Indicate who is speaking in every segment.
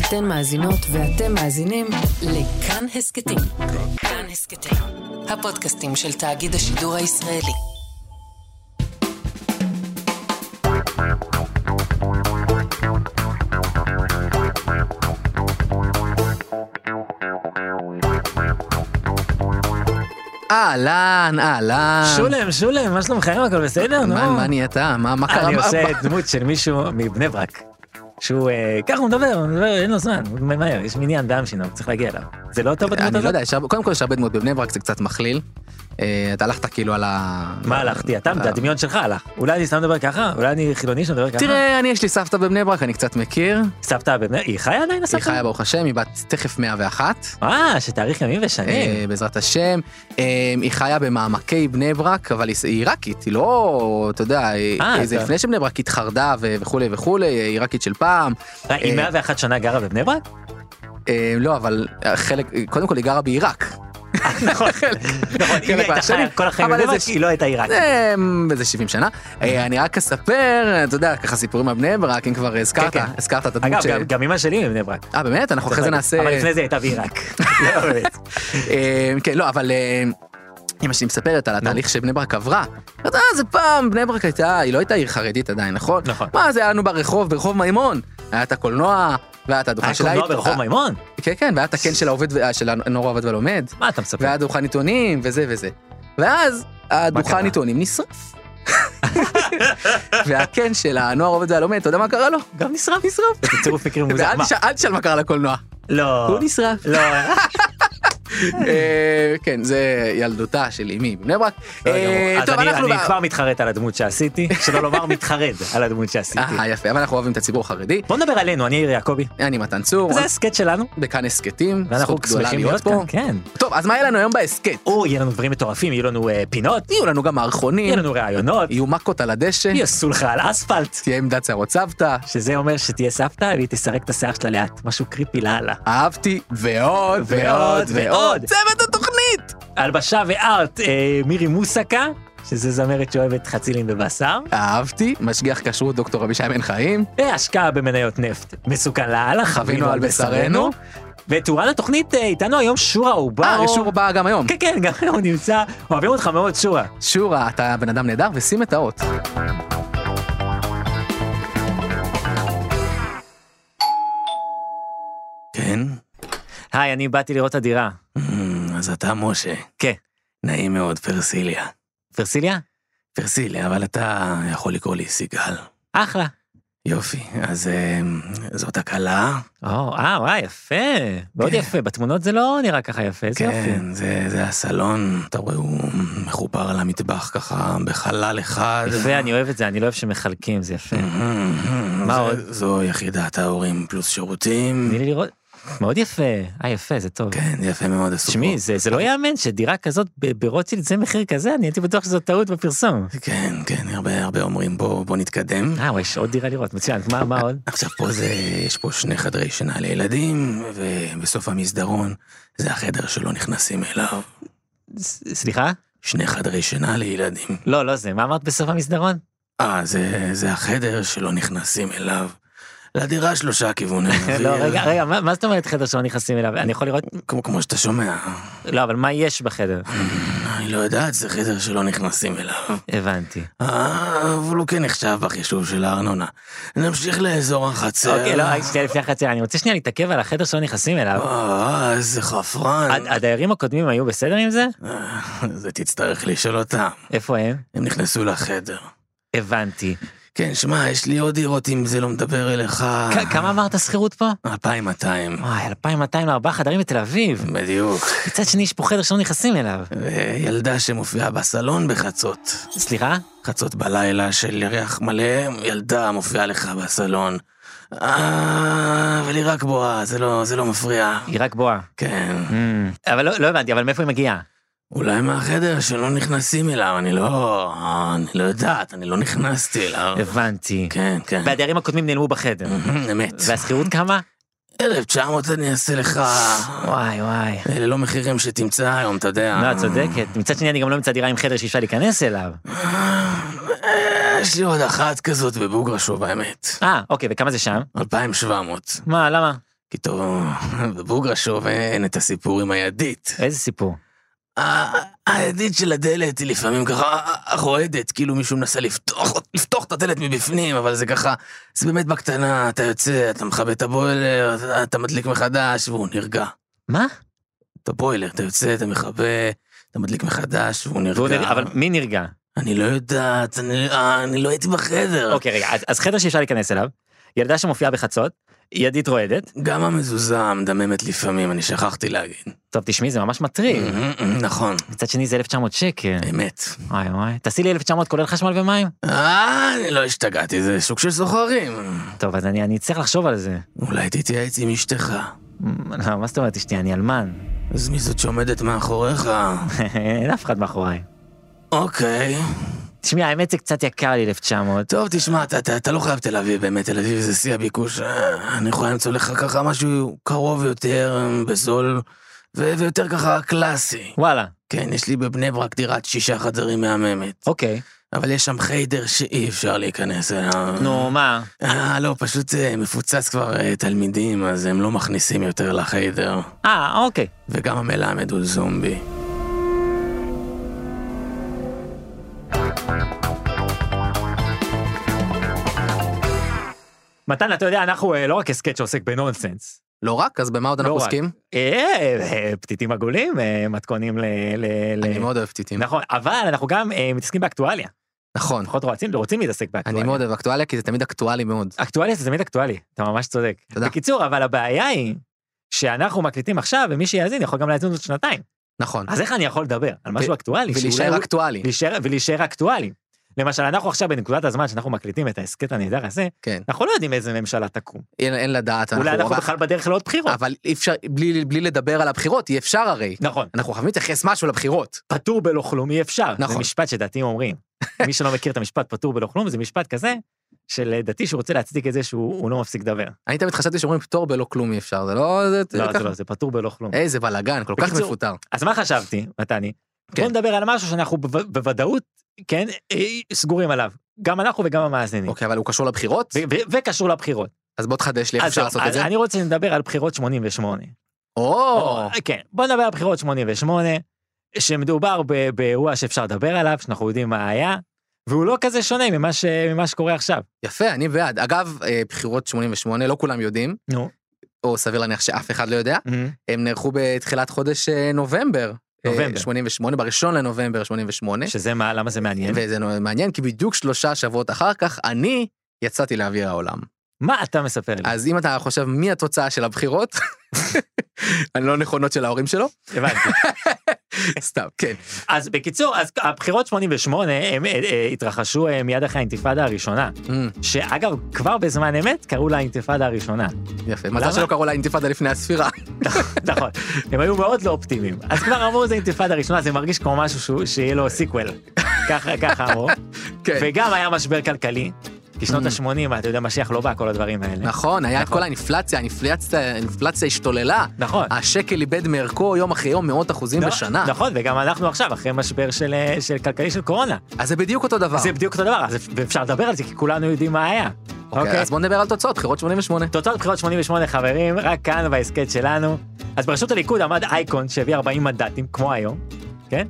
Speaker 1: אתן מאזינות ואתם מאזינים לכאן הסכתים. כאן הסכתים, הפודקאסטים של תאגיד השידור הישראלי.
Speaker 2: אהלן, אהלן.
Speaker 3: שולם, שולם, מה שלומכם? הכל בסדר?
Speaker 2: מה
Speaker 3: נו.
Speaker 2: מה נהיית? מה מה קרה?
Speaker 3: אני עושה
Speaker 2: מה-
Speaker 3: דמות של מישהו מבני ברק. שהוא, אה, ככה הוא מדבר, הוא מדבר, אין לו זמן, הוא ממהר, יש מניין באמשינו, צריך להגיע אליו. זה לא אותו בדמות
Speaker 2: אני לא
Speaker 3: הזאת?
Speaker 2: יודע, יש הרבה- קודם כל יש הרבה דמות בבני ברק, זה קצת מכליל. אה, אתה הלכת כאילו על ה...
Speaker 3: מה הלכתי? אתה,
Speaker 2: אה.
Speaker 3: הדמיון שלך הלך. אולי אני סתם מדבר ככה? אולי אני חילוני שמדבר ככה?
Speaker 2: תראה, אני יש לי סבתא בבני ברק, אני קצת מכיר.
Speaker 3: סבתא בבני... היא חיה עדיין הסבתא?
Speaker 2: היא חיה ברוך השם, היא בת תכף 101,
Speaker 3: אה, שתאריך ימים ושנים.
Speaker 2: אה, בעזרת השם. אה, היא חיה במעמקי בני ברק, אבל היא- היא עיראקית, היא לא, אתה יודע, היא-
Speaker 3: אה,
Speaker 2: היא- זה
Speaker 3: אתה-
Speaker 2: לפני שבני ברק התחרדה ו- וכולי וכולי, היא עיראקית של פעם.
Speaker 3: אה, היא
Speaker 2: אה. נכון,
Speaker 3: 101 שנה גרה בבני ברק?
Speaker 2: אה, לא, אבל חלק, קודם כל היא גרה בעיראק.
Speaker 3: נכון. נכון,
Speaker 2: חלק
Speaker 3: אם היא הייתה
Speaker 2: מהשנים,
Speaker 3: חיה כל החיים
Speaker 2: אבל
Speaker 3: בבני ברק,
Speaker 2: איזה ש-
Speaker 3: היא לא הייתה עיראקית.
Speaker 2: אמ, איזה 70 שנה. אה, אני רק אספר, אתה יודע, ככה סיפורים על בני ברק, אם כבר הזכרת,
Speaker 3: כן.
Speaker 2: הזכרת את הדמות
Speaker 3: אגב,
Speaker 2: ש...
Speaker 3: גם- גם אמא שלי מבני ברק.
Speaker 2: אה, באמת? אנחנו אחרי זה נעשה... אה,
Speaker 3: אבל לפני זה היא הייתה בעיראק. לא, באמת.
Speaker 2: אמ, כן, לא, אבל... אמ, אמא שלי מספרת על התהליך שבני ברק עברה. אתה יודע, זה פעם, בני ברק הייתה, היא לא הייתה עיר חרדית עדיין, נכון?
Speaker 3: נכון.
Speaker 2: מה, זה היה לנו ברחוב, ברחוב מימון. היה את הקולנוע, והיה את הדוכן
Speaker 3: היה
Speaker 2: של
Speaker 3: קולנוע
Speaker 2: העיתון-
Speaker 3: לא ברחוב מימון?
Speaker 2: כן, כן, והיה את הקן של העובד, ו- של הנורא עובד ולומד.
Speaker 3: מה אתה מספר?
Speaker 2: והיה דוכן עיתונים, וזה וזה. ואז
Speaker 3: קרה?
Speaker 2: הדוכן עיתונים נשרף. והקן של הנוער עובד והלומד, אתה יודע מה קרה לו?
Speaker 3: גם נשרף נשרף. זה צירוף מקרים מוזר.
Speaker 2: ואל
Speaker 3: מה?
Speaker 2: תשאל- אל תשאל מה קרה לקולנוע,
Speaker 3: לא.
Speaker 2: הוא נשרף.
Speaker 3: לא.
Speaker 2: אה, כן, זה ילדותה של אמי בבני ברק. אה,
Speaker 3: לא, אז
Speaker 2: טוב,
Speaker 3: אני
Speaker 2: אנחנו...
Speaker 3: אני
Speaker 2: ב-
Speaker 3: כבר מתחרט על הדמות שעשיתי, שלא לומר מתחרד על הדמות שעשיתי.
Speaker 2: אה, יפה, אבל אנחנו אוהבים את הציבור החרדי.
Speaker 3: בוא נדבר עלינו, אני יאיר יעקבי.
Speaker 2: אני מתן צור,
Speaker 3: זה הסכת שלנו,
Speaker 2: בכאן הסכתים,
Speaker 3: ואנחנו
Speaker 2: זכות גדולה
Speaker 3: שמחים להיות
Speaker 2: להיות פה.
Speaker 3: כאן. כן.
Speaker 2: טוב, אז מה יהיה לנו היום בהסכת?
Speaker 3: או, יהיה לנו דברים מטורפים, יהיו לנו אה, פינות,
Speaker 2: יהיו לנו גם
Speaker 3: יהיו
Speaker 2: מערכונים,
Speaker 3: לנו ראיונות,
Speaker 2: יהיו מכות על הדשא,
Speaker 3: יהיה סולחה על אספלט.
Speaker 2: תהיה עמדת שערות סבתא,
Speaker 3: שזה אומר שתהיה סבתא והיא תסרק את השיער שלה לאט, משהו קריפי לאללה.
Speaker 2: אהבתי, ועוד, ועוד,
Speaker 3: ועוד,
Speaker 2: ועוד.
Speaker 3: ועוד.
Speaker 2: צוות התוכנית!
Speaker 3: הלבשה וארט, אה, מירי מוסקה, שזה זמרת שאוהבת חצילים בבשר.
Speaker 2: אהבתי, משגיח כשרות דוקטור אבישי בן חיים,
Speaker 3: השקעה במניות נפט מסוכן לאללה,
Speaker 2: חווינו על בשרנו.
Speaker 3: ותאורן התוכנית אה, איתנו היום שורה עובר.
Speaker 2: אה, יש שורה באה גם היום.
Speaker 3: כן, כן, גם הוא נמצא, אוהבים אותך מאוד שורה.
Speaker 2: שורה, אתה בן אדם נהדר, ושים את האות. כן,
Speaker 3: היי, אני באתי לראות את הדירה.
Speaker 4: Mm,
Speaker 2: אז אתה משה.
Speaker 3: כן.
Speaker 2: נעים מאוד, פרסיליה.
Speaker 3: פרסיליה?
Speaker 2: פרסיליה, אבל אתה יכול לקרוא לי סיגל.
Speaker 3: אחלה.
Speaker 2: יופי, אז
Speaker 4: אה,
Speaker 2: זאת הקלה.
Speaker 3: או, אה, וואי, יפה. מאוד
Speaker 2: כן.
Speaker 3: יפה, בתמונות זה לא נראה ככה יפה, זה יופי.
Speaker 4: כן, זה, זה הסלון, אתה רואה, הוא מחובר למטבח ככה בחלל אחד.
Speaker 3: יפה, אני אוהב את זה, אני לא אוהב שמחלקים, זה יפה.
Speaker 4: מהמם.
Speaker 3: מה
Speaker 4: mm-hmm. זה-
Speaker 3: עוד?
Speaker 4: זו יחידת ההורים פלוס שירותים.
Speaker 3: תני לי לראות. מאוד יפה. אה, יפה, זה טוב.
Speaker 4: כן, יפה מאוד עשו
Speaker 3: תשמעי, זה
Speaker 2: אה.
Speaker 3: זה לא ייאמן שדירה כזאת ב- ברוטשילד זה מחיר כזה, אני הייתי בטוח שזו טעות בפרסום.
Speaker 4: פה. כן, כן, הרבה הרבה אומרים בוא, בוא נתקדם.
Speaker 3: אה, וואי, יש עוד דירה לראות, מצוין, מה מה עוד?
Speaker 4: עכשיו פה זה, יש פה שני חדרי שינה לילדים, ובסוף המסדרון זה החדר שלא נכנסים אליו.
Speaker 3: ס- סליחה?
Speaker 4: שני חדרי שינה לילדים.
Speaker 3: לא, לא זה, מה אמרת בסוף המסדרון?
Speaker 4: אה, זה, זה החדר שלא נכנסים אליו. לדירה שלושה כיוונים.
Speaker 3: לא,
Speaker 4: אוויר.
Speaker 3: רגע, רגע, מה מה זאת אומרת חדר שלא נכנסים אליו? אני יכול לראות?
Speaker 4: כמו, כמו שאתה שומע,
Speaker 3: לא, אבל מה יש בחדר?
Speaker 4: אני לא יודעת, זה חדר שלא נכנסים אליו.
Speaker 3: הבנתי.
Speaker 4: אה, אבל הוא כן נחשב בחישוב של הארנונה. נמשיך לאזור החצר.
Speaker 3: אוקיי, לא, רק שנייה לפני החצי, אני רוצה שנייה להתעכב על החדר שלא נכנסים אליו.
Speaker 4: אה, איזה חפרן.
Speaker 3: הד- הדיירים הקודמים היו בסדר עם זה?
Speaker 4: אה, זה תצטרך לשאול אותם.
Speaker 3: איפה הם?
Speaker 4: הם נכנסו לחדר.
Speaker 3: הבנתי.
Speaker 4: כן, שמע, יש לי עוד דירות אם זה לא מדבר אליך.
Speaker 3: כ- כמה אמרת שכירות פה?
Speaker 4: 2,200.
Speaker 3: וואי, 2,200 לארבעה חדרים בתל אביב.
Speaker 4: בדיוק.
Speaker 3: מצד שני, יש פה חדר שלא נכנסים אליו.
Speaker 4: ילדה שמופיעה בסלון בחצות.
Speaker 3: סליחה?
Speaker 4: חצות בלילה של ירח מלא, ילדה מופיעה לך בסלון. אה, אבל היא רק בואה, זה לא, זה לא מפריע.
Speaker 3: היא רק בואה.
Speaker 4: כן.
Speaker 3: אבל לא לא הבנתי, אבל מאיפה היא מגיעה?
Speaker 4: אולי מהחדר שלא נכנסים אליו, אני לא... אני לא יודעת, אני לא נכנסתי אליו.
Speaker 3: הבנתי.
Speaker 4: כן, כן.
Speaker 3: והדיירים הקודמים נעלמו בחדר.
Speaker 4: אמת.
Speaker 3: והשכירות כמה?
Speaker 4: 1900 אני אעשה לך...
Speaker 3: וואי וואי.
Speaker 4: אלה לא מחירים שתמצא היום, אתה יודע.
Speaker 3: לא, את צודקת. מצד שני, אני גם לא אמצא דירה עם חדר שאי אפשר להיכנס אליו.
Speaker 4: אה, יש לי עוד אחת כזאת בבוגרשוב, האמת.
Speaker 3: אה, אוקיי, וכמה זה שם?
Speaker 4: 2700.
Speaker 3: מה, למה?
Speaker 4: כי טוב, בבוגרשוב אין את הסיפור עם הידית.
Speaker 3: איזה סיפור.
Speaker 4: ה- הידית של הדלת היא לפעמים ככה רועדת, כאילו מישהו מנסה לפתוח, לפתוח את הדלת מבפנים, אבל זה ככה, זה באמת בקטנה, אתה יוצא, אתה מכבה את הבוילר, אתה- אתה מדליק מחדש, והוא נרגע.
Speaker 3: מה?
Speaker 4: את הבוילר, אתה יוצא, אתה מכבה, אתה מדליק מחדש, והוא
Speaker 3: והוא נרגע,
Speaker 4: נרגע.
Speaker 3: אבל מי נרגע?
Speaker 4: אני לא יודעת, אני, אה, אני לא הייתי בחדר.
Speaker 3: אוקיי, רגע, אז- אז חדר שאפשר להיכנס אליו, ילדה שמופיעה בחצות, ידית רועדת,
Speaker 4: גם המזוזה מדממת לפעמים, אני שכחתי להגיד.
Speaker 3: טוב תשמעי זה ממש מטריד,
Speaker 4: נכון,
Speaker 3: מצד שני זה 1,900 שקל,
Speaker 4: אמת.
Speaker 3: וואי וואי, תעשי לי 1,900 כולל חשמל ומים,
Speaker 4: אה, אני לא השתגעתי, זה שוק של סוחרים.
Speaker 3: טוב אז אני אני אצטרך לחשוב על זה,
Speaker 4: אולי תתייעץ עם אשתך.
Speaker 3: לא, מה זאת אומרת אשתי אני אלמן,
Speaker 4: אז מי זאת שעומדת מאחוריך?
Speaker 3: אין אף אחד מאחוריי,
Speaker 4: אוקיי.
Speaker 3: תשמעי האמת זה קצת יקר לי 1,900,
Speaker 4: טוב, תשמע, אתה- אתה אתה לא חייב תל אביב באמת, תל אביב זה שיא הביקוש. אה, אני יכול למצוא לך ככה משהו קרוב יותר, אה, בזול, ו- ויותר ככה קלאסי.
Speaker 3: וואלה,
Speaker 4: כן, יש לי בבני ברק דירת שישה חדרים מהממת.
Speaker 3: אוקיי,
Speaker 4: אבל יש שם חיידר שאי אפשר להיכנס אליו.
Speaker 3: נו מה,
Speaker 4: אה, לא, פשוט אה, מפוצץ כבר אה, תלמידים, אז הם לא מכניסים יותר לחיידר.
Speaker 3: אה אוקיי,
Speaker 4: וגם המלמד הוא זומבי.
Speaker 3: מתן אתה יודע אנחנו אה, לא רק הסכת שעוסק בנונסנס,
Speaker 2: לא רק, אז במה עוד
Speaker 3: לא
Speaker 2: אנחנו
Speaker 3: רק.
Speaker 2: עוסקים?
Speaker 3: אה, אה, פתיתים עגולים, אה, מתכונים ל... ל- ל-
Speaker 2: אני מאוד אוהב טיטים.
Speaker 3: נכון, אבל אנחנו גם אה, מתעסקים באקטואליה.
Speaker 2: נכון.
Speaker 3: לפחות רוצים, רוצים להתעסק באקטואליה.
Speaker 2: אני מאוד אוהב אקטואליה, כי זה תמיד אקטואלי מאוד.
Speaker 3: אקטואליה זה תמיד אקטואלי, אתה ממש צודק.
Speaker 2: תודה.
Speaker 3: בקיצור, אבל הבעיה היא שאנחנו מקליטים עכשיו, ומי שיאזין יכול גם להאזין עוד שנתיים.
Speaker 2: נכון.
Speaker 3: אז איך אני יכול לדבר על משהו אקטואלי? אה, שאולי
Speaker 2: ולהישאר
Speaker 3: הוא-
Speaker 2: אקטואלי.
Speaker 3: להישאר- ולהישאר אקטואלי. למשל, אנחנו עכשיו בנקודת הזמן שאנחנו מקליטים את ההסכת הנהדר הזה,
Speaker 2: כן.
Speaker 3: אנחנו לא יודעים איזה ממשלה תקום.
Speaker 2: אין אין לדעת.
Speaker 3: אולי אנחנו
Speaker 2: אבל-
Speaker 3: בכלל לא בדרך לעוד בחירות.
Speaker 2: אבל אי אפשר, בלי- בלי לדבר על הבחירות, אי אפשר הרי.
Speaker 3: נכון,
Speaker 2: אנחנו חייבים להתייחס משהו לבחירות.
Speaker 3: פטור בלא כלום אי אפשר. זה
Speaker 2: נכון.
Speaker 3: משפט שדתיים אומרים. מי שלא מכיר את המשפט פטור בלא כלום, זה משפט כזה של דתי שרוצה להצדיק את זה שהוא הוא לא מפסיק לדבר.
Speaker 2: אני תמיד חשבתי שאומרים פטור בלא כלום אי אפשר, זה לא... זה-
Speaker 3: לא,
Speaker 2: ככה. אה.
Speaker 3: זה לא, זה פטור בלא כלום.
Speaker 2: איזה בלאגן, כל כך
Speaker 3: בקיצור, אה.
Speaker 2: מפוטר.
Speaker 3: אז מה חשבתי, מתני? בוא
Speaker 2: כן.
Speaker 3: נדבר על משהו שאנחנו בו- בוודאות, כן, אה, סגורים עליו. גם אנחנו וגם המאזינים.
Speaker 2: אוקיי, אבל הוא קשור לבחירות?
Speaker 3: ו- ו- וקשור לבחירות.
Speaker 2: אז בוא תחדש לי איך
Speaker 3: אז
Speaker 2: אפשר
Speaker 3: זהו,
Speaker 2: לעשות את
Speaker 3: אז
Speaker 2: זה.
Speaker 3: אני רוצה לדבר על בחירות 88.
Speaker 2: או,
Speaker 3: כן, בוא נדבר על בחירות 88, שמדובר ב- באירוע שאפשר לדבר עליו, שאנחנו יודעים מה היה, והוא לא כזה שונה ממה ש- ממה שקורה עכשיו.
Speaker 2: יפה, אני בעד. אגב, אה, בחירות 88, לא כולם יודעים,
Speaker 3: נו.
Speaker 2: או סביר להניח שאף אחד לא יודע,
Speaker 3: Mm-hmm.
Speaker 2: הם נערכו בתחילת חודש אה, נובמבר. אה,
Speaker 3: נובמבר.
Speaker 2: 88, בראשון לנובמבר 88.
Speaker 3: שזה מה, למה זה מעניין?
Speaker 2: וזה נו- מעניין, כי בדיוק שלושה שבועות אחר כך, אני יצאתי לאוויר העולם.
Speaker 3: מה אתה מספר לי?
Speaker 2: אז אם אתה חושב מי התוצאה של הבחירות, אני לא נכונות של ההורים שלו,
Speaker 3: הבנתי.
Speaker 2: סתם, כן.
Speaker 3: אז בקיצור, אז הבחירות 88 הם אה, אה, התרחשו אה, מיד אחרי האינתיפאדה הראשונה.
Speaker 2: אמ,
Speaker 3: שאגב, כבר בזמן אמת קראו לה האינתיפאדה הראשונה.
Speaker 2: יפה,
Speaker 3: למה?
Speaker 2: מזל שלא קראו לה אינתיפאדה לפני הספירה.
Speaker 3: נכון, הם היו מאוד לא אופטימיים. אז כבר אמרו זה אינתיפאדה ראשונה, זה מרגיש כמו משהו שהוא- שיהיה לו סיקוול. ככה, ככה אמרו.
Speaker 2: כן.
Speaker 3: וגם היה משבר כלכלי. כי שנות
Speaker 2: Mm.
Speaker 3: ה-80, אתה יודע, משיח לא בא, כל הדברים האלה.
Speaker 2: נכון, היה את
Speaker 3: נכון.
Speaker 2: כל האינפלציה, האינפלציה האינפלציה השתוללה.
Speaker 3: נכון.
Speaker 2: השקל איבד מערכו יום אחרי יום מאות אחוזים אה, בשנה.
Speaker 3: נכון, וגם אנחנו עכשיו, אחרי משבר של, אה, של כלכלי של קורונה.
Speaker 2: אז זה בדיוק אותו דבר.
Speaker 3: זה בדיוק אותו דבר, אז אפשר לדבר על זה, כי כולנו יודעים מה היה.
Speaker 2: אוקיי, אז בוא נדבר על תוצאות, בחירות 88.
Speaker 3: תוצאות בחירות 88 חברים, רק כאן בהסכת שלנו. אז בראשות הליכוד עמד אייקון שהביא 40 מנדטים, כמו היום, כן?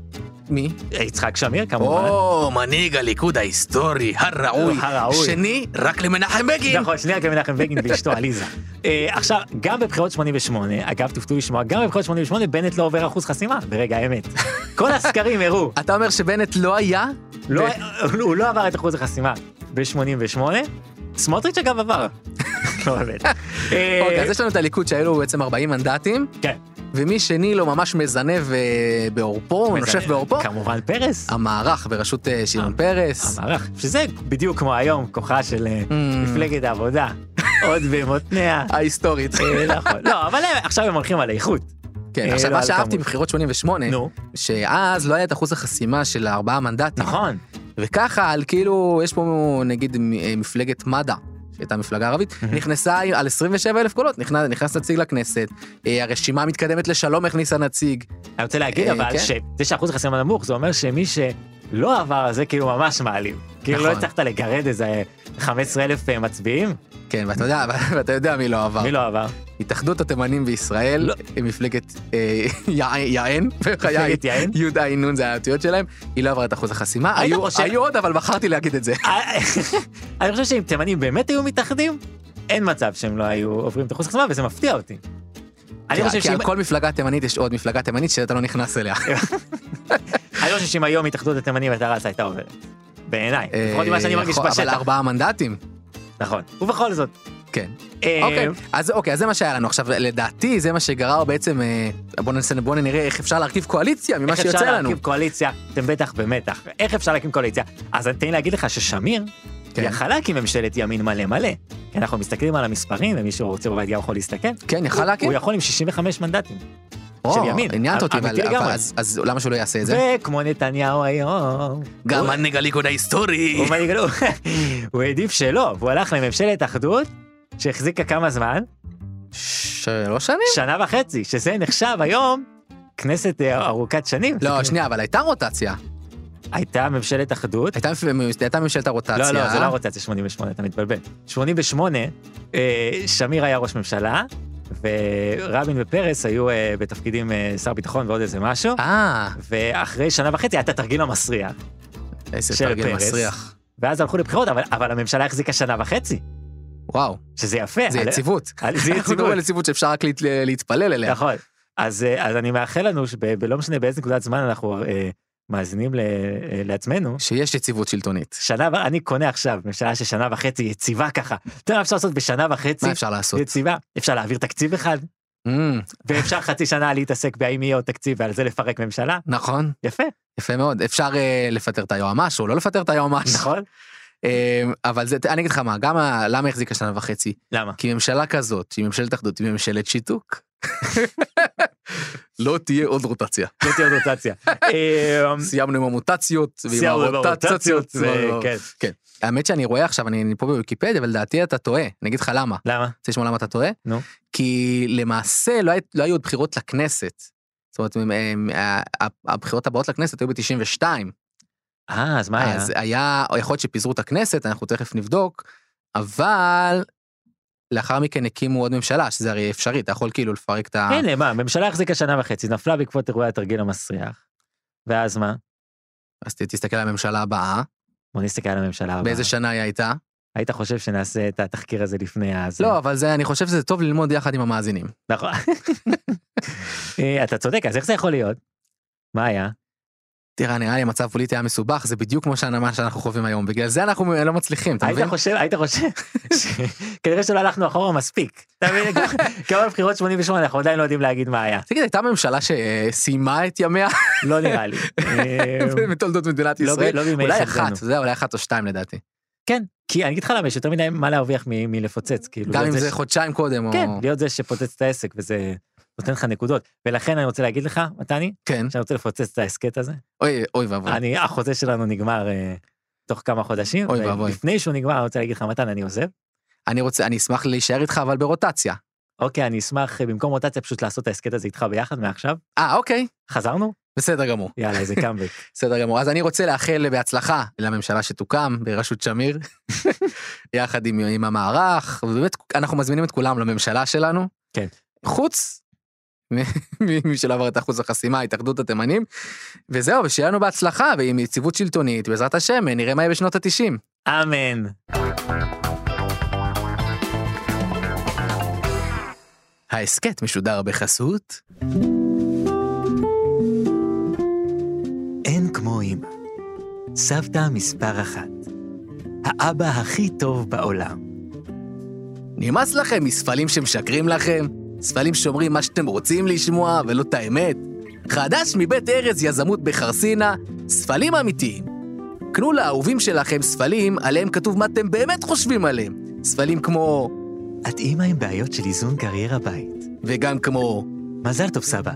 Speaker 2: מי?
Speaker 3: יצחק שמיר כמובן.
Speaker 4: או, מנהיג הליכוד ההיסטורי, הראוי,
Speaker 3: הראוי.
Speaker 4: שני רק למנחם בגין.
Speaker 3: נכון, שנייה גם מנחם בגין ואשתו עליזה. אה, עכשיו, גם בבחירות 88, אגב, תופתעו לשמוע, גם בבחירות 88 בנט לא עובר אחוז חסימה, ברגע האמת. כל הסקרים הראו,
Speaker 2: אתה אומר שבנט לא היה?
Speaker 3: לא- הוא לא עבר את אחוז החסימה ב-88, סמוטריץ' אגב עבר. לא באמת. אה,
Speaker 2: אוקיי, אז יש לנו את הליכוד שהיו לו בעצם 40 מנדטים,
Speaker 3: כן.
Speaker 2: ומי שני לו ממש מזנב אה, בעורפו, נושף בעורפו,
Speaker 3: כמובן פרס.
Speaker 2: המערך בראשות אה, שמעון פרס.
Speaker 3: המערך, שזה בדיוק כמו היום, כוחה של
Speaker 2: Mm.
Speaker 3: אה, מפלגת העבודה, עוד במותניה.
Speaker 2: ההיסטורית.
Speaker 3: אה, נכון. לא, אבל הם- עכשיו הם הולכים על איכות.
Speaker 2: כן,
Speaker 3: אה,
Speaker 2: עכשיו
Speaker 3: לא
Speaker 2: מה
Speaker 3: על
Speaker 2: שאהבתי
Speaker 3: כמות.
Speaker 2: בבחירות 88,
Speaker 3: נו,
Speaker 2: שאז לא היה את אחוז החסימה של הארבעה מנדטים.
Speaker 3: נכון.
Speaker 2: וככה על כאילו יש פה נגיד מ- אה, מפלגת מד"א. שהייתה מפלגה ערבית, נכנסה עם- על 27 אלף קולות, נכנס, נכנס נציג לכנסת, אה, הרשימה המתקדמת לשלום הכניסה נציג.
Speaker 3: אני רוצה להגיד
Speaker 2: אה,
Speaker 3: אבל
Speaker 2: כן.
Speaker 3: שזה שאחוז החסימה נמוך, זה אומר שמי לא עבר, זה כאילו ממש מעליב. כאילו לא
Speaker 2: נכון.
Speaker 3: הצלחת לגרד איזה 15 אלף אה, מצביעים,
Speaker 2: כן, ואתה יודע, ואתה יודע מי לא עבר.
Speaker 3: מי לא עבר?
Speaker 2: התאחדות התימנים בישראל,
Speaker 3: לא.
Speaker 2: היא מפלגת אה, יע- יען, בחיי,
Speaker 3: מפלגת יען?
Speaker 2: י"ע נ' זה האותיות שלהם, היא לא עברה את אחוז החסימה,
Speaker 3: היית
Speaker 2: היו-
Speaker 3: חושב-
Speaker 2: היו עוד, אבל בחרתי להגיד את זה.
Speaker 3: אה, אני חושב שאם תימנים באמת היו מתאחדים, אין מצב שהם לא היו עוברים את אחוז החסימה, וזה מפתיע אותי. אני
Speaker 2: כי-
Speaker 3: חושב
Speaker 2: כי
Speaker 3: שאם-
Speaker 2: על כל מפלגה תימנית יש עוד מפלגה תימנית שאתה לא נכנס אליה.
Speaker 3: אני חושב שאם היום התאחדות התימנים הייתה רצה, הייתה עוברת. בעיניי, לפחות ממה נכון, שאני
Speaker 2: אה,
Speaker 3: מרגיש
Speaker 2: יכול- אבל
Speaker 3: בשטח.
Speaker 2: ארבעה מנדטים,
Speaker 3: נכון. ובכל זאת.
Speaker 2: כן.
Speaker 3: אה,
Speaker 2: אוקיי, אז אוקיי, אז זה מה שהיה לנו. עכשיו, לדעתי, זה מה שגרר בעצם, אה, בוא ננסה, בוא נראה איך אפשר להרכיב קואליציה ממה
Speaker 3: איך אפשר
Speaker 2: שיוצא לנו.
Speaker 3: להקים קואליציה? אתם בטח במתח. איך אפשר להקים קואליציה? אז תן לי להגיד לך ששמיר
Speaker 2: כן.
Speaker 3: יכל להקים ממשלת ימין מלא מלא. כי אנחנו מסתכלים על המספרים, ומי שרוצה בבית גם יכול להסתכל.
Speaker 2: כן, יכל להקים?
Speaker 3: הוא יכול עם 65 מנדטים.
Speaker 2: או,
Speaker 3: של ימין.
Speaker 2: עניינת אותי,
Speaker 3: אמיתי
Speaker 2: אבל אבל
Speaker 3: לגמרי.
Speaker 2: אז- אז למה שלא יעשה את זה?
Speaker 3: וכמו נתניהו היום,
Speaker 4: גם מנהיג הליכוד ההיסטורי.
Speaker 3: הוא מנהיג- הוא- הוא העדיף שלא, והוא הלך לממשלת אחדות, שהחזיקה כמה זמן?
Speaker 2: שלוש שנים?
Speaker 3: שנה וחצי, שזה נחשב היום כנסת אה, ארוכת שנים.
Speaker 2: לא, שנייה, אבל הייתה רוטציה.
Speaker 3: הייתה ממשלת אחדות.
Speaker 2: הייתה מפ- הייתה ממשלת הרוטציה.
Speaker 3: לא, לא, זה לא רוטציה 88, אתה מתבלבל. 88, אה, שמיר היה ראש ממשלה, ורבין ופרס היו אה, בתפקידים אה, שר ביטחון ועוד איזה משהו,
Speaker 2: אה,
Speaker 3: ואחרי שנה וחצי היה את התרגיל המסריח.
Speaker 2: איזה
Speaker 3: של
Speaker 2: תרגיל
Speaker 3: פרס.
Speaker 2: מסריח.
Speaker 3: ואז הלכו לבחירות, אבל, אבל הממשלה החזיקה שנה וחצי,
Speaker 2: וואו,
Speaker 3: שזה יפה.
Speaker 2: זה
Speaker 3: על-
Speaker 2: יציבות.
Speaker 3: על- אה, זה
Speaker 2: אנחנו מדברים
Speaker 3: יציבות,
Speaker 2: על יציבות שאפשר רק להת- להתפלל אליה.
Speaker 3: נכון. אז, אה, אז אני מאחל לנו, שב- בלא משנה באיזה נקודת זמן אנחנו אה, מאזינים ל, אה, לעצמנו,
Speaker 2: שיש יציבות שלטונית.
Speaker 3: שנה, ו- אני קונה עכשיו ממשלה של שנה וחצי יציבה ככה. אתה יודע מה אפשר לעשות בשנה וחצי
Speaker 2: מה אפשר לעשות?
Speaker 3: יציבה? אפשר להעביר תקציב אחד,
Speaker 2: אמ,
Speaker 3: ואפשר חצי שנה להתעסק בהאם יהיה עוד תקציב ועל זה לפרק ממשלה.
Speaker 2: נכון,
Speaker 3: יפה,
Speaker 2: יפה מאוד. אפשר אה, לפטר את היועמ"ש או לא לפטר את היועמ"ש.
Speaker 3: נכון?
Speaker 2: אמ, אבל זה, אני אגיד לך מה, גם ה- למה החזיקה שנה וחצי?
Speaker 3: למה?
Speaker 2: כי ממשלה כזאת, שהיא ממשלת אחדות, היא ממשלת שיתוק. לא תהיה עוד רוטציה.
Speaker 3: לא תהיה עוד רוטציה. אה,
Speaker 2: סיימנו עם המוטציות ועם
Speaker 3: סיימנו עם
Speaker 2: הרוטציות.
Speaker 3: הרוטציות, זה- כן.
Speaker 2: האמת שאני רואה עכשיו, אני אני פה בוויקיפדיה, ולדעתי אתה טועה. אני אגיד לך למה.
Speaker 3: למה?
Speaker 2: רוצה לשמוע למה אתה טועה?
Speaker 3: נו.
Speaker 2: כי למעשה לא, היה, לא היו עוד בחירות לכנסת. זאת אומרת, הם, הם, ה- ה- הבחירות הבאות לכנסת היו ב-92.
Speaker 3: אה, אז מה היה?
Speaker 2: אז היה, או יכול להיות שפיזרו את הכנסת, אנחנו תכף נבדוק, אבל לאחר מכן הקימו עוד ממשלה, שזה הרי אפשרי, אתה יכול כאילו לפרק את ה...
Speaker 3: הנה, מה, הממשלה החזיקה שנה וחצי, נפלה בעקבות אירועי התרגיל המסריח. ואז מה?
Speaker 2: אז ת- תסתכל על הממשלה הבאה,
Speaker 3: בוא נסתכל על הממשלה הבאה.
Speaker 2: באיזה שנה היא הייתה.
Speaker 3: היית חושב שנעשה את התחקיר הזה לפני אז?
Speaker 2: לא, אבל זה, אני חושב שזה טוב ללמוד יחד עם המאזינים.
Speaker 3: נכון. אה, אתה צודק, אז איך זה יכול להיות? מה היה?
Speaker 2: תראה, נראה לי המצב הפוליטי היה מסובך, זה בדיוק כמו שאני- מה שאנחנו חווים היום, בגלל זה אנחנו לא מצליחים, אתה
Speaker 3: היית
Speaker 2: מבין?
Speaker 3: חושב, היית חושב, ש- כנראה שלא הלכנו אחורה מספיק. אתה מבין, גם בבחירות 88 אנחנו עדיין לא יודעים להגיד מה היה.
Speaker 2: תגיד, הייתה ממשלה שסיימה את ימיה
Speaker 3: לא נראה לי. אה,
Speaker 2: בתולדות מדינת
Speaker 3: לא ב-
Speaker 2: ישראל?
Speaker 3: לא בימי
Speaker 2: אולי
Speaker 3: חלקנו.
Speaker 2: אחת, אתה יודע, אולי אחת או שתיים לדעתי.
Speaker 3: כן, כי אני אגיד לך למה, יש יותר מדי מה להרוויח מ- מלפוצץ, כאילו.
Speaker 2: גם
Speaker 3: להיות
Speaker 2: אם
Speaker 3: זה
Speaker 2: זה
Speaker 3: ש-
Speaker 2: חודשיים קודם, או...
Speaker 3: כן, להיות זה שפוצץ את העסק וזה נותן לך נקודות. ולכן אני רוצה להגיד לך, מתני,
Speaker 2: כן.
Speaker 3: שאני רוצה לפוצץ את ההסכת הזה.
Speaker 2: אוי, אוי ואבוי.
Speaker 3: אני, החוזה שלנו נגמר אה, תוך כמה חודשים. אה,
Speaker 2: אוי ואבוי.
Speaker 3: לפני שהוא נגמר, אני רוצה להגיד לך, מתן, אני עוזב.
Speaker 2: אני רוצה, אני אשמח להישאר איתך, אבל ברוטציה.
Speaker 3: אוקיי, אני אשמח אה, במקום רוטציה פשוט לעשות את ההסכת הזה איתך ביחד מעכשיו.
Speaker 2: אה, אוקיי,
Speaker 3: חזרנו?
Speaker 2: בסדר גמור.
Speaker 3: יאללה, איזה קאמבק.
Speaker 2: בסדר גמור. אז אני רוצה לאחל בהצלחה לממשלה שתוקם בראשות שמיר, יחד עם, עם המערך, ובאמת, אנחנו מזמינים את כולם לממשלה שלנו.
Speaker 3: כן.
Speaker 2: חוץ ממי שלא עבר את אחוז החסימה, התאחדות התימנים. וזהו, ושיהיה לנו בהצלחה, ועם יציבות שלטונית, בעזרת השם, נראה מה יהיה בשנות התשעים.
Speaker 3: אמן.
Speaker 2: ההסכת משודר בחסות.
Speaker 3: אין כמו אמא. סבתא מספר אחת. האבא הכי טוב בעולם.
Speaker 2: נמאס לכם מספלים שמשקרים לכם? ספלים שאומרים מה שאתם רוצים לשמוע ולא את האמת? חדש מבית ארז יזמות בחרסינה, ספלים אמיתיים. קנו לאהובים שלכם ספלים עליהם כתוב מה אתם באמת חושבים עליהם. ספלים כמו...
Speaker 3: את אימא עם בעיות של איזון קריירה בית.
Speaker 2: וגם כמו...
Speaker 3: מזל טוב, סבא.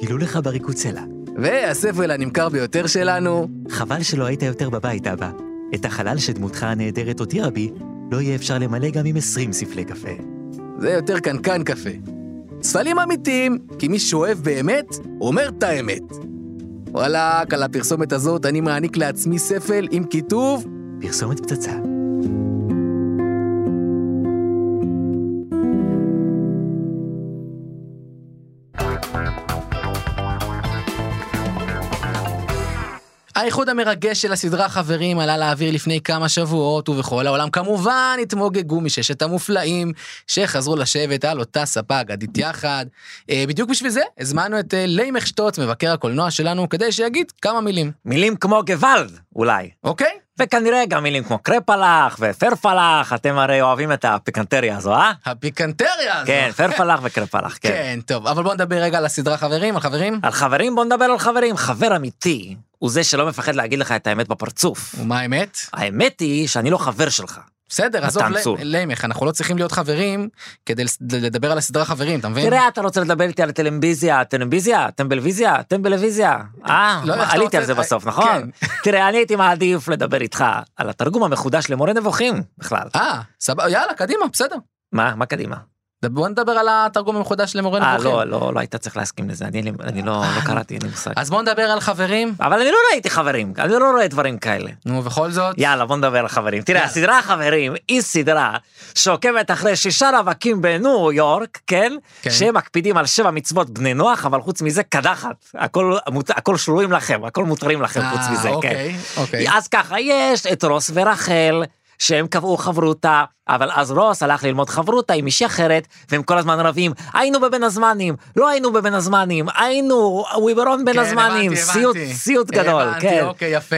Speaker 3: גילו לך בריקוד סלע.
Speaker 2: והספל הנמכר ביותר שלנו,
Speaker 3: חבל שלא היית יותר בבית, אבא. את החלל שדמותך הנהדרת הותירה בי, לא יהיה אפשר למלא גם עם 20 ספלי קפה.
Speaker 2: זה יותר קנקן קפה. ספלים אמיתיים, כי מי שאוהב באמת, אומר את האמת. וואלאק, על הפרסומת הזאת אני מעניק לעצמי ספל עם כיתוב
Speaker 3: פרסומת פצצה.
Speaker 2: האיחוד המרגש של הסדרה חברים עלה לאוויר לפני כמה שבועות ובכל העולם כמובן התמוגגו מששת המופלאים שחזרו לשבת על אותה ספה אגדית יחד. אה, בדיוק בשביל זה הזמנו את אה, ליימך שטוץ, מבקר הקולנוע שלנו, כדי שיגיד כמה מילים,
Speaker 3: מילים כמו גוואלד, אולי.
Speaker 2: אוקיי?
Speaker 3: וכנראה גם מילים כמו קרפלח ופרפלח, אתם הרי אוהבים את הפיקנטריה הזו, אה?
Speaker 2: הפיקנטריה הזו.
Speaker 3: כן, פרפלח וקרפלח, כן.
Speaker 2: לא. כן, טוב, אבל בוא נדבר רגע על הסדרה חברים, על חברים.
Speaker 3: על חברים, בוא נדבר על חברים. חבר אמיתי הוא זה שלא מפחד להגיד לך את האמת בפרצוף.
Speaker 2: ומה האמת?
Speaker 3: האמת היא שאני לא חבר שלך.
Speaker 2: בסדר, עזוב
Speaker 3: מתן צור.
Speaker 2: לי- ליימך, אנחנו לא צריכים להיות חברים כדי לס- לדבר על הסדרה חברים, אתה מבין?
Speaker 3: תראה, אתה רוצה לדבר איתי על טלמביזיה, טלמביזיה, טמבלוויזיה, טמבלוויזיה. אה,
Speaker 2: לא, איך אתה
Speaker 3: עליתי על
Speaker 2: רוצה-
Speaker 3: זה בסוף,
Speaker 2: אה,
Speaker 3: נכון? תראה, אני הייתי מעדיף לדבר איתך על התרגום המחודש למורה נבוכים בכלל.
Speaker 2: אה, סבבה, יאללה, קדימה, בסדר.
Speaker 3: מה, מה קדימה?
Speaker 2: ד- בוא נדבר על התרגום המחודש למורה
Speaker 3: אה,
Speaker 2: נבוכים. אה,
Speaker 3: לא, לא, לא היית צריך להסכים לזה, אני אין לי- אני לא לא קראתי, אין לי מושג.
Speaker 2: אז בוא נדבר על חברים.
Speaker 3: אבל אני לא ראיתי חברים, אני לא רואה דברים כאלה.
Speaker 2: נו, בכל זאת.
Speaker 3: יאללה, בוא נדבר על חברים. תראה,
Speaker 2: אוקיי. יאללה.
Speaker 3: הסדרה חברים היא סדרה שעוקבת אחרי שישה רווקים בניו יורק, כן?
Speaker 2: כן.
Speaker 3: שהם מקפידים על שבע מצוות בני נוח, אבל חוץ מזה קדחת. הכל, מות- הכל שרויים לכם, הכל מותרים לכם
Speaker 2: אה,
Speaker 3: חוץ מזה, כן.
Speaker 2: אוקיי, אוקיי.
Speaker 3: אז ככה, יש את רוס ורחל. שהם קבעו חברותה, אבל אז רוס הלך ללמוד חברותה עם אישי אחרת, והם כל הזמן רבים, היינו בבין הזמנים, לא היינו בבין הזמנים, היינו, וויברון בין
Speaker 2: כן,
Speaker 3: הזמנים,
Speaker 2: הבנתי,
Speaker 3: סיוט,
Speaker 2: הבנתי.
Speaker 3: סיוט גדול,
Speaker 2: הבנתי,
Speaker 3: כן.
Speaker 2: אוקיי, יפה.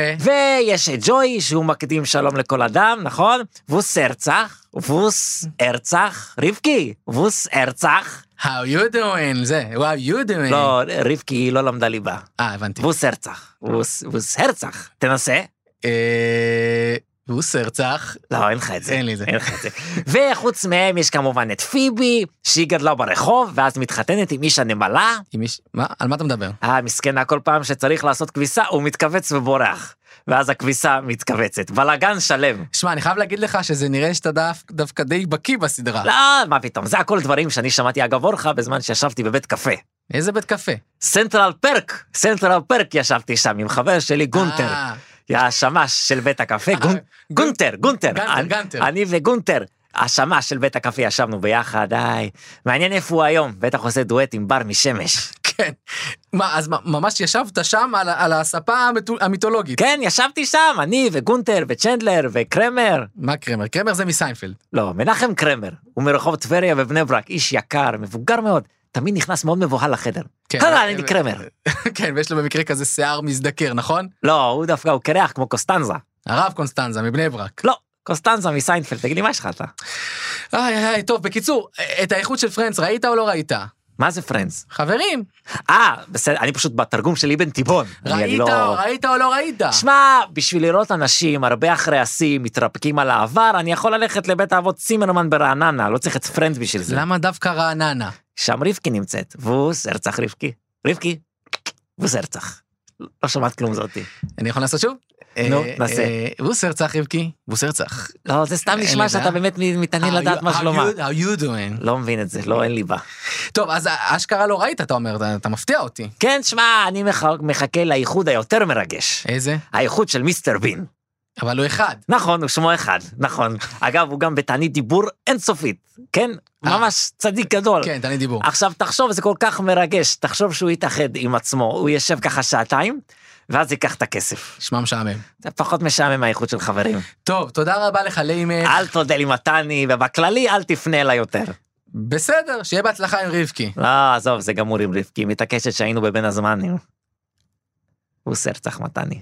Speaker 3: ויש את ג'וי שהוא מקדים שלום לכל אדם, נכון? ווס ארצח, ווס ארצח, רבקי, ווס ארצח.
Speaker 2: How you doing? זה, how you doing?
Speaker 3: לא, רבקי היא לא למדה ליבה.
Speaker 2: אה, הבנתי.
Speaker 3: ווס ארצח, ווס ווס הרצח, תנסה.
Speaker 2: אה, בוס הרצח.
Speaker 3: לא, אין לך את זה.
Speaker 2: אין לי את זה.
Speaker 3: אין לך את זה. וחוץ מהם יש כמובן את פיבי, שהיא גדלה ברחוב, ואז מתחתנת עם איש הנמלה.
Speaker 2: עם איש- מה? על מה אתה מדבר?
Speaker 3: המסכנה כל פעם שצריך לעשות כביסה, הוא מתכווץ ובורח. ואז הכביסה מתכווצת. בלאגן שלם.
Speaker 2: שמע, אני חייב להגיד לך שזה נראה שאתה דף- דווקא די בקיא בסדרה.
Speaker 3: לא, מה פתאום, זה הכל דברים שאני שמעתי אגב אורחה בזמן שישבתי בבית קפה.
Speaker 2: איזה בית קפה?
Speaker 3: סנטרל פרק, סנטרל פרק ישבתי שם עם חבר שלי גונטר,
Speaker 2: אה,
Speaker 3: השמש של בית הקפה,
Speaker 2: אה,
Speaker 3: גונ- גונטר, גונטר,
Speaker 2: גנטר,
Speaker 3: אני-
Speaker 2: גנטר.
Speaker 3: אני וגונטר, השמש של בית הקפה ישבנו ביחד, היי, מעניין איפה הוא היום, בטח עושה דואט עם בר משמש.
Speaker 2: כן. מה, אז מה- ממש ישבת שם על ה- על הספה המתו- המיתולוגית.
Speaker 3: כן, ישבתי שם, אני וגונטר וצ'נדלר וקרמר,
Speaker 2: מה קרמר? קרמר זה מסיינפלד.
Speaker 3: לא, מנחם קרמר, הוא מרחוב טבריה בבני ברק, איש יקר, מבוגר מאוד, תמיד נכנס מאוד מבוהל לחדר.
Speaker 2: כן,
Speaker 3: הלו,
Speaker 2: אבל-
Speaker 3: לא, אני קרמר.
Speaker 2: כן, ויש לו במקרה כזה שיער מזדקר, נכון?
Speaker 3: לא, הוא דווקא, הוא קרח כמו קוסטנזה.
Speaker 2: הרב קונסטנזה מבני ברק.
Speaker 3: לא, קוסטנזה מסיינפלד, תגיד לי, מה יש לך אתה?
Speaker 2: איי, איי, איי, טוב, בקיצור, אה, את האיכות של פרנץ ראית או לא ראית?
Speaker 3: מה זה פרנדס?
Speaker 2: חברים,
Speaker 3: אה, בסדר, אני פשוט בתרגום של אבן תיבון. אני
Speaker 2: ראית
Speaker 3: לא-
Speaker 2: או ראית או לא ראית?
Speaker 3: שמע, בשביל לראות אנשים הרבה אחרי השיא מתרפקים על העבר, אני יכול ללכת לבית האבות צימרמן ברעננה, לא צריך את פרנדס בשביל זה.
Speaker 2: למה דווקא רעננה?
Speaker 3: שם רבקי נמצאת. ווס, הרצח רבקי. רבקי, ווס הרצח. לא שמעת כלום זאתי.
Speaker 2: אני יכול לעשות שוב?
Speaker 3: נו,
Speaker 2: אה,
Speaker 3: נעשה.
Speaker 2: אה, בוסר צח רבקי, בוסר צח.
Speaker 3: לא, זה סתם
Speaker 2: אין לי
Speaker 3: נשמע שאתה
Speaker 2: דעה.
Speaker 3: באמת מתעניין לדעת מה שלומה.
Speaker 2: How you doing?
Speaker 3: לא מבין את זה, לא, אין לי בה.
Speaker 2: טוב, אז אשכרה לא ראית, אתה אומר, אתה- אתה מפתיע אותי.
Speaker 3: כן, שמע, אני מח- מחכה לאיחוד היותר מרגש.
Speaker 2: איזה?
Speaker 3: האיחוד של מיסטר בין.
Speaker 2: אבל הוא אחד.
Speaker 3: נכון, הוא שמו אחד, נכון. אגב, הוא גם בתענית דיבור אינסופית, כן?
Speaker 2: אה.
Speaker 3: ממש צדיק גדול.
Speaker 2: כן, תעני דיבור.
Speaker 3: עכשיו, תחשוב, זה כל כך מרגש, תחשוב שהוא יתאחד עם עצמו, הוא יושב ככה שעתיים, ואז ייקח את הכסף.
Speaker 2: שמע משעמם.
Speaker 3: זה פחות משעמם האיחוד של חברים.
Speaker 2: טוב, תודה רבה לך, ליימך.
Speaker 3: אל תודה לי מתני, ובכללי אל תפנה אליי יותר.
Speaker 2: בסדר, שיהיה בהצלחה עם רבקי.
Speaker 3: לא, עזוב, זה גמור עם רבקי, היא מתעקשת שהיינו בבין הזמנים. הוא סרצח מתני.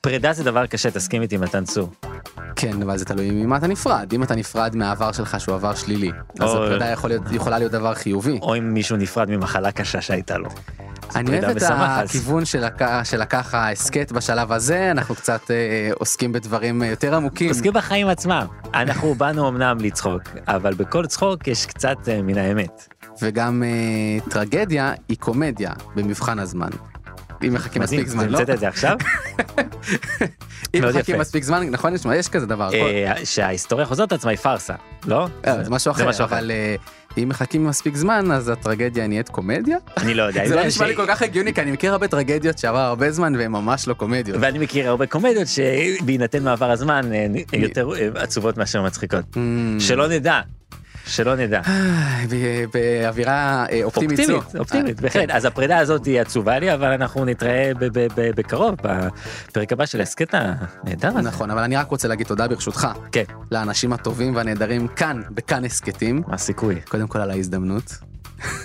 Speaker 3: פרידה זה דבר קשה, תסכים איתי מתן צור.
Speaker 2: כן, אבל זה תלוי ממה אתה נפרד. אם אתה נפרד מהעבר שלך שהוא עבר שלילי, אז
Speaker 3: אוי.
Speaker 2: הפרידה יכול להיות- יכולה להיות דבר חיובי.
Speaker 3: או אם מישהו נפרד ממחלה קשה שהייתה לו.
Speaker 2: אני
Speaker 3: פרידה
Speaker 2: אוהב את
Speaker 3: משמחת.
Speaker 2: הכיוון של הכ- של לקח ההסכת בשלב הזה, אנחנו קצת אה, עוסקים בדברים אה, יותר עמוקים.
Speaker 3: עוסקים בחיים עצמם. אנחנו באנו אמנם לצחוק, אבל בכל צחוק יש קצת אה, מן האמת.
Speaker 2: וגם אה, טרגדיה היא קומדיה במבחן הזמן. אם מחכים
Speaker 3: מדהים,
Speaker 2: מספיק זמן, לא?
Speaker 3: המצאת את זה עכשיו?
Speaker 2: אם
Speaker 3: מאוד
Speaker 2: מחכים
Speaker 3: יפה.
Speaker 2: מספיק זמן, נכון? יש- יש כזה דבר. כל-
Speaker 3: אה, שההיסטוריה חוזרת על עצמה היא פארסה, לא?
Speaker 2: אה, זה משהו אחר,
Speaker 3: משהו אחר.
Speaker 2: אבל אה, אם מחכים מספיק זמן, אז הטרגדיה נהיית קומדיה?
Speaker 3: אני לא יודע.
Speaker 2: זה לא
Speaker 3: יודע
Speaker 2: נשמע לי
Speaker 3: ש-
Speaker 2: כל כך הגיוני, כי אני מכיר הרבה טרגדיות שעבר הרבה זמן והן ממש לא קומדיות.
Speaker 3: ואני מכיר הרבה קומדיות שבהינתן מעבר הזמן אה, הן יותר אה, עצובות מאשר מצחיקות.
Speaker 2: Mm.
Speaker 3: שלא נדע, שלא נדע.
Speaker 2: אה, ב- באווירה אה, אופטימית זו.
Speaker 3: אופטימית, אופטימית, אה, בהחלט. אז הפרידה הזאת היא עצובה לי, אבל אנחנו נתראה ב- ב- ב- בקרוב, בפרק הבא של ההסכת הנהדר הזה.
Speaker 2: נכון, אבל אני רק רוצה להגיד תודה ברשותך
Speaker 3: כן,
Speaker 2: לאנשים הטובים והנהדרים כאן, בכאן הסכתים.
Speaker 3: מה הסיכוי?
Speaker 2: קודם כל על ההזדמנות.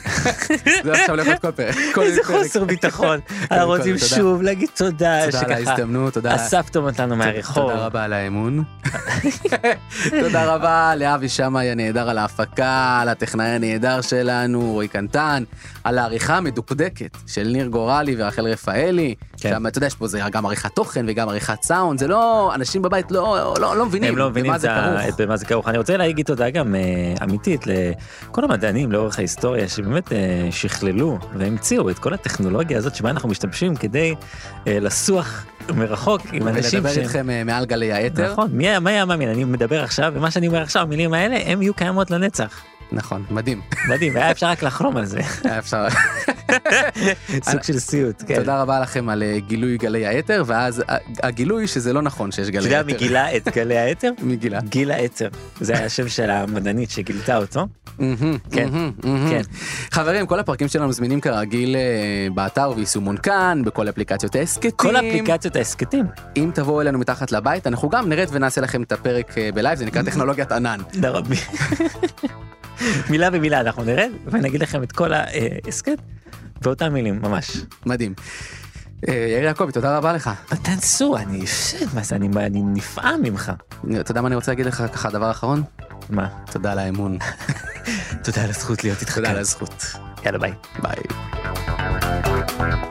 Speaker 2: זה עכשיו הולך להיות כל פרק. כל
Speaker 3: איזה
Speaker 2: פרק.
Speaker 3: חוסר ביטחון.
Speaker 2: כל,
Speaker 3: אנחנו רוצים
Speaker 2: תודה.
Speaker 3: שוב להגיד תודה,
Speaker 2: תודה על
Speaker 3: שככה
Speaker 2: ההזדמנות, תודה על ה-
Speaker 3: אספתם אותנו מהרחוב.
Speaker 2: תודה רבה על האמון. תודה רבה לאבי שמאי הנהדר על ההפקה, לטכנאי הנהדר שלנו, רועי קנטן, על העריכה המדוקדקת של ניר גורלי ורחל רפאלי.
Speaker 3: כן.
Speaker 2: שם, אתה יודע, יש פה זה גם עריכת תוכן וגם עריכת סאונד, זה לא, אנשים בבית לא, לא, לא מבינים
Speaker 3: הם לא מבינים
Speaker 2: במה
Speaker 3: את
Speaker 2: זה
Speaker 3: ה-
Speaker 2: כרוך.
Speaker 3: את במה זה כרוך. אני רוצה להגיד תודה גם אה, אמיתית לכל המדענים לאורך ההיסטוריה שבאמת אה, שכללו והמציאו את כל הטכנולוגיה הזאת שבה אנחנו משתמשים כדי אה, לסוח מרחוק עם אנשים
Speaker 2: ולדבר
Speaker 3: שהם-
Speaker 2: איתכם אה, מעל גלי האתר.
Speaker 3: נכון, מי היה- מה היה מאמין? אני מדבר עכשיו, ומה שאני אומר עכשיו, המילים האלה, הן יהיו קיימות לנצח.
Speaker 2: נכון, מדהים.
Speaker 3: מדהים, היה אפשר רק לחלום על זה.
Speaker 2: היה אפשר.
Speaker 3: סוג של סיוט, כן.
Speaker 2: תודה רבה לכם על אה, גילוי גלי האתר, ואז אה, הגילוי שזה לא נכון שיש
Speaker 3: אתה
Speaker 2: גלי
Speaker 3: יודע
Speaker 2: האתר.
Speaker 3: מי גילה את גלי האתר?
Speaker 2: מגילה.
Speaker 3: גילה עצר. זה היה השם של המדענית שגילתה אותו.
Speaker 2: אה, מהמם,
Speaker 3: כן,
Speaker 2: מהמם, מהמם.
Speaker 3: כן.
Speaker 2: חברים, כל הפרקים שלנו זמינים כרגיל אה, באתר ויישומון כאן, בכל אפליקציות ההסכתים.
Speaker 3: כל אפליקציות ההסכתים.
Speaker 2: אם תבואו אלינו מתחת לבית, אנחנו גם נרד ונעשה לכם את הפרק אה, בלייב, זה נקרא טכנולוגיית ענן.
Speaker 3: תודה רבה. מילה במילה אנחנו נרד ונגיד לכם את כל ההסכת באותן מילים ממש.
Speaker 2: מדהים. אה, יאיר יעקבי, תודה רבה לך.
Speaker 3: תנסו, אני מה זה, אני אני נפעם ממך.
Speaker 2: אתה יודע מה אני רוצה להגיד לך ככה, דבר אחרון?
Speaker 3: מה?
Speaker 2: תודה על האמון.
Speaker 3: תודה על הזכות להיות איתך
Speaker 2: תודה
Speaker 3: כאן.
Speaker 2: על הזכות.
Speaker 3: יאללה ביי.
Speaker 2: ביי.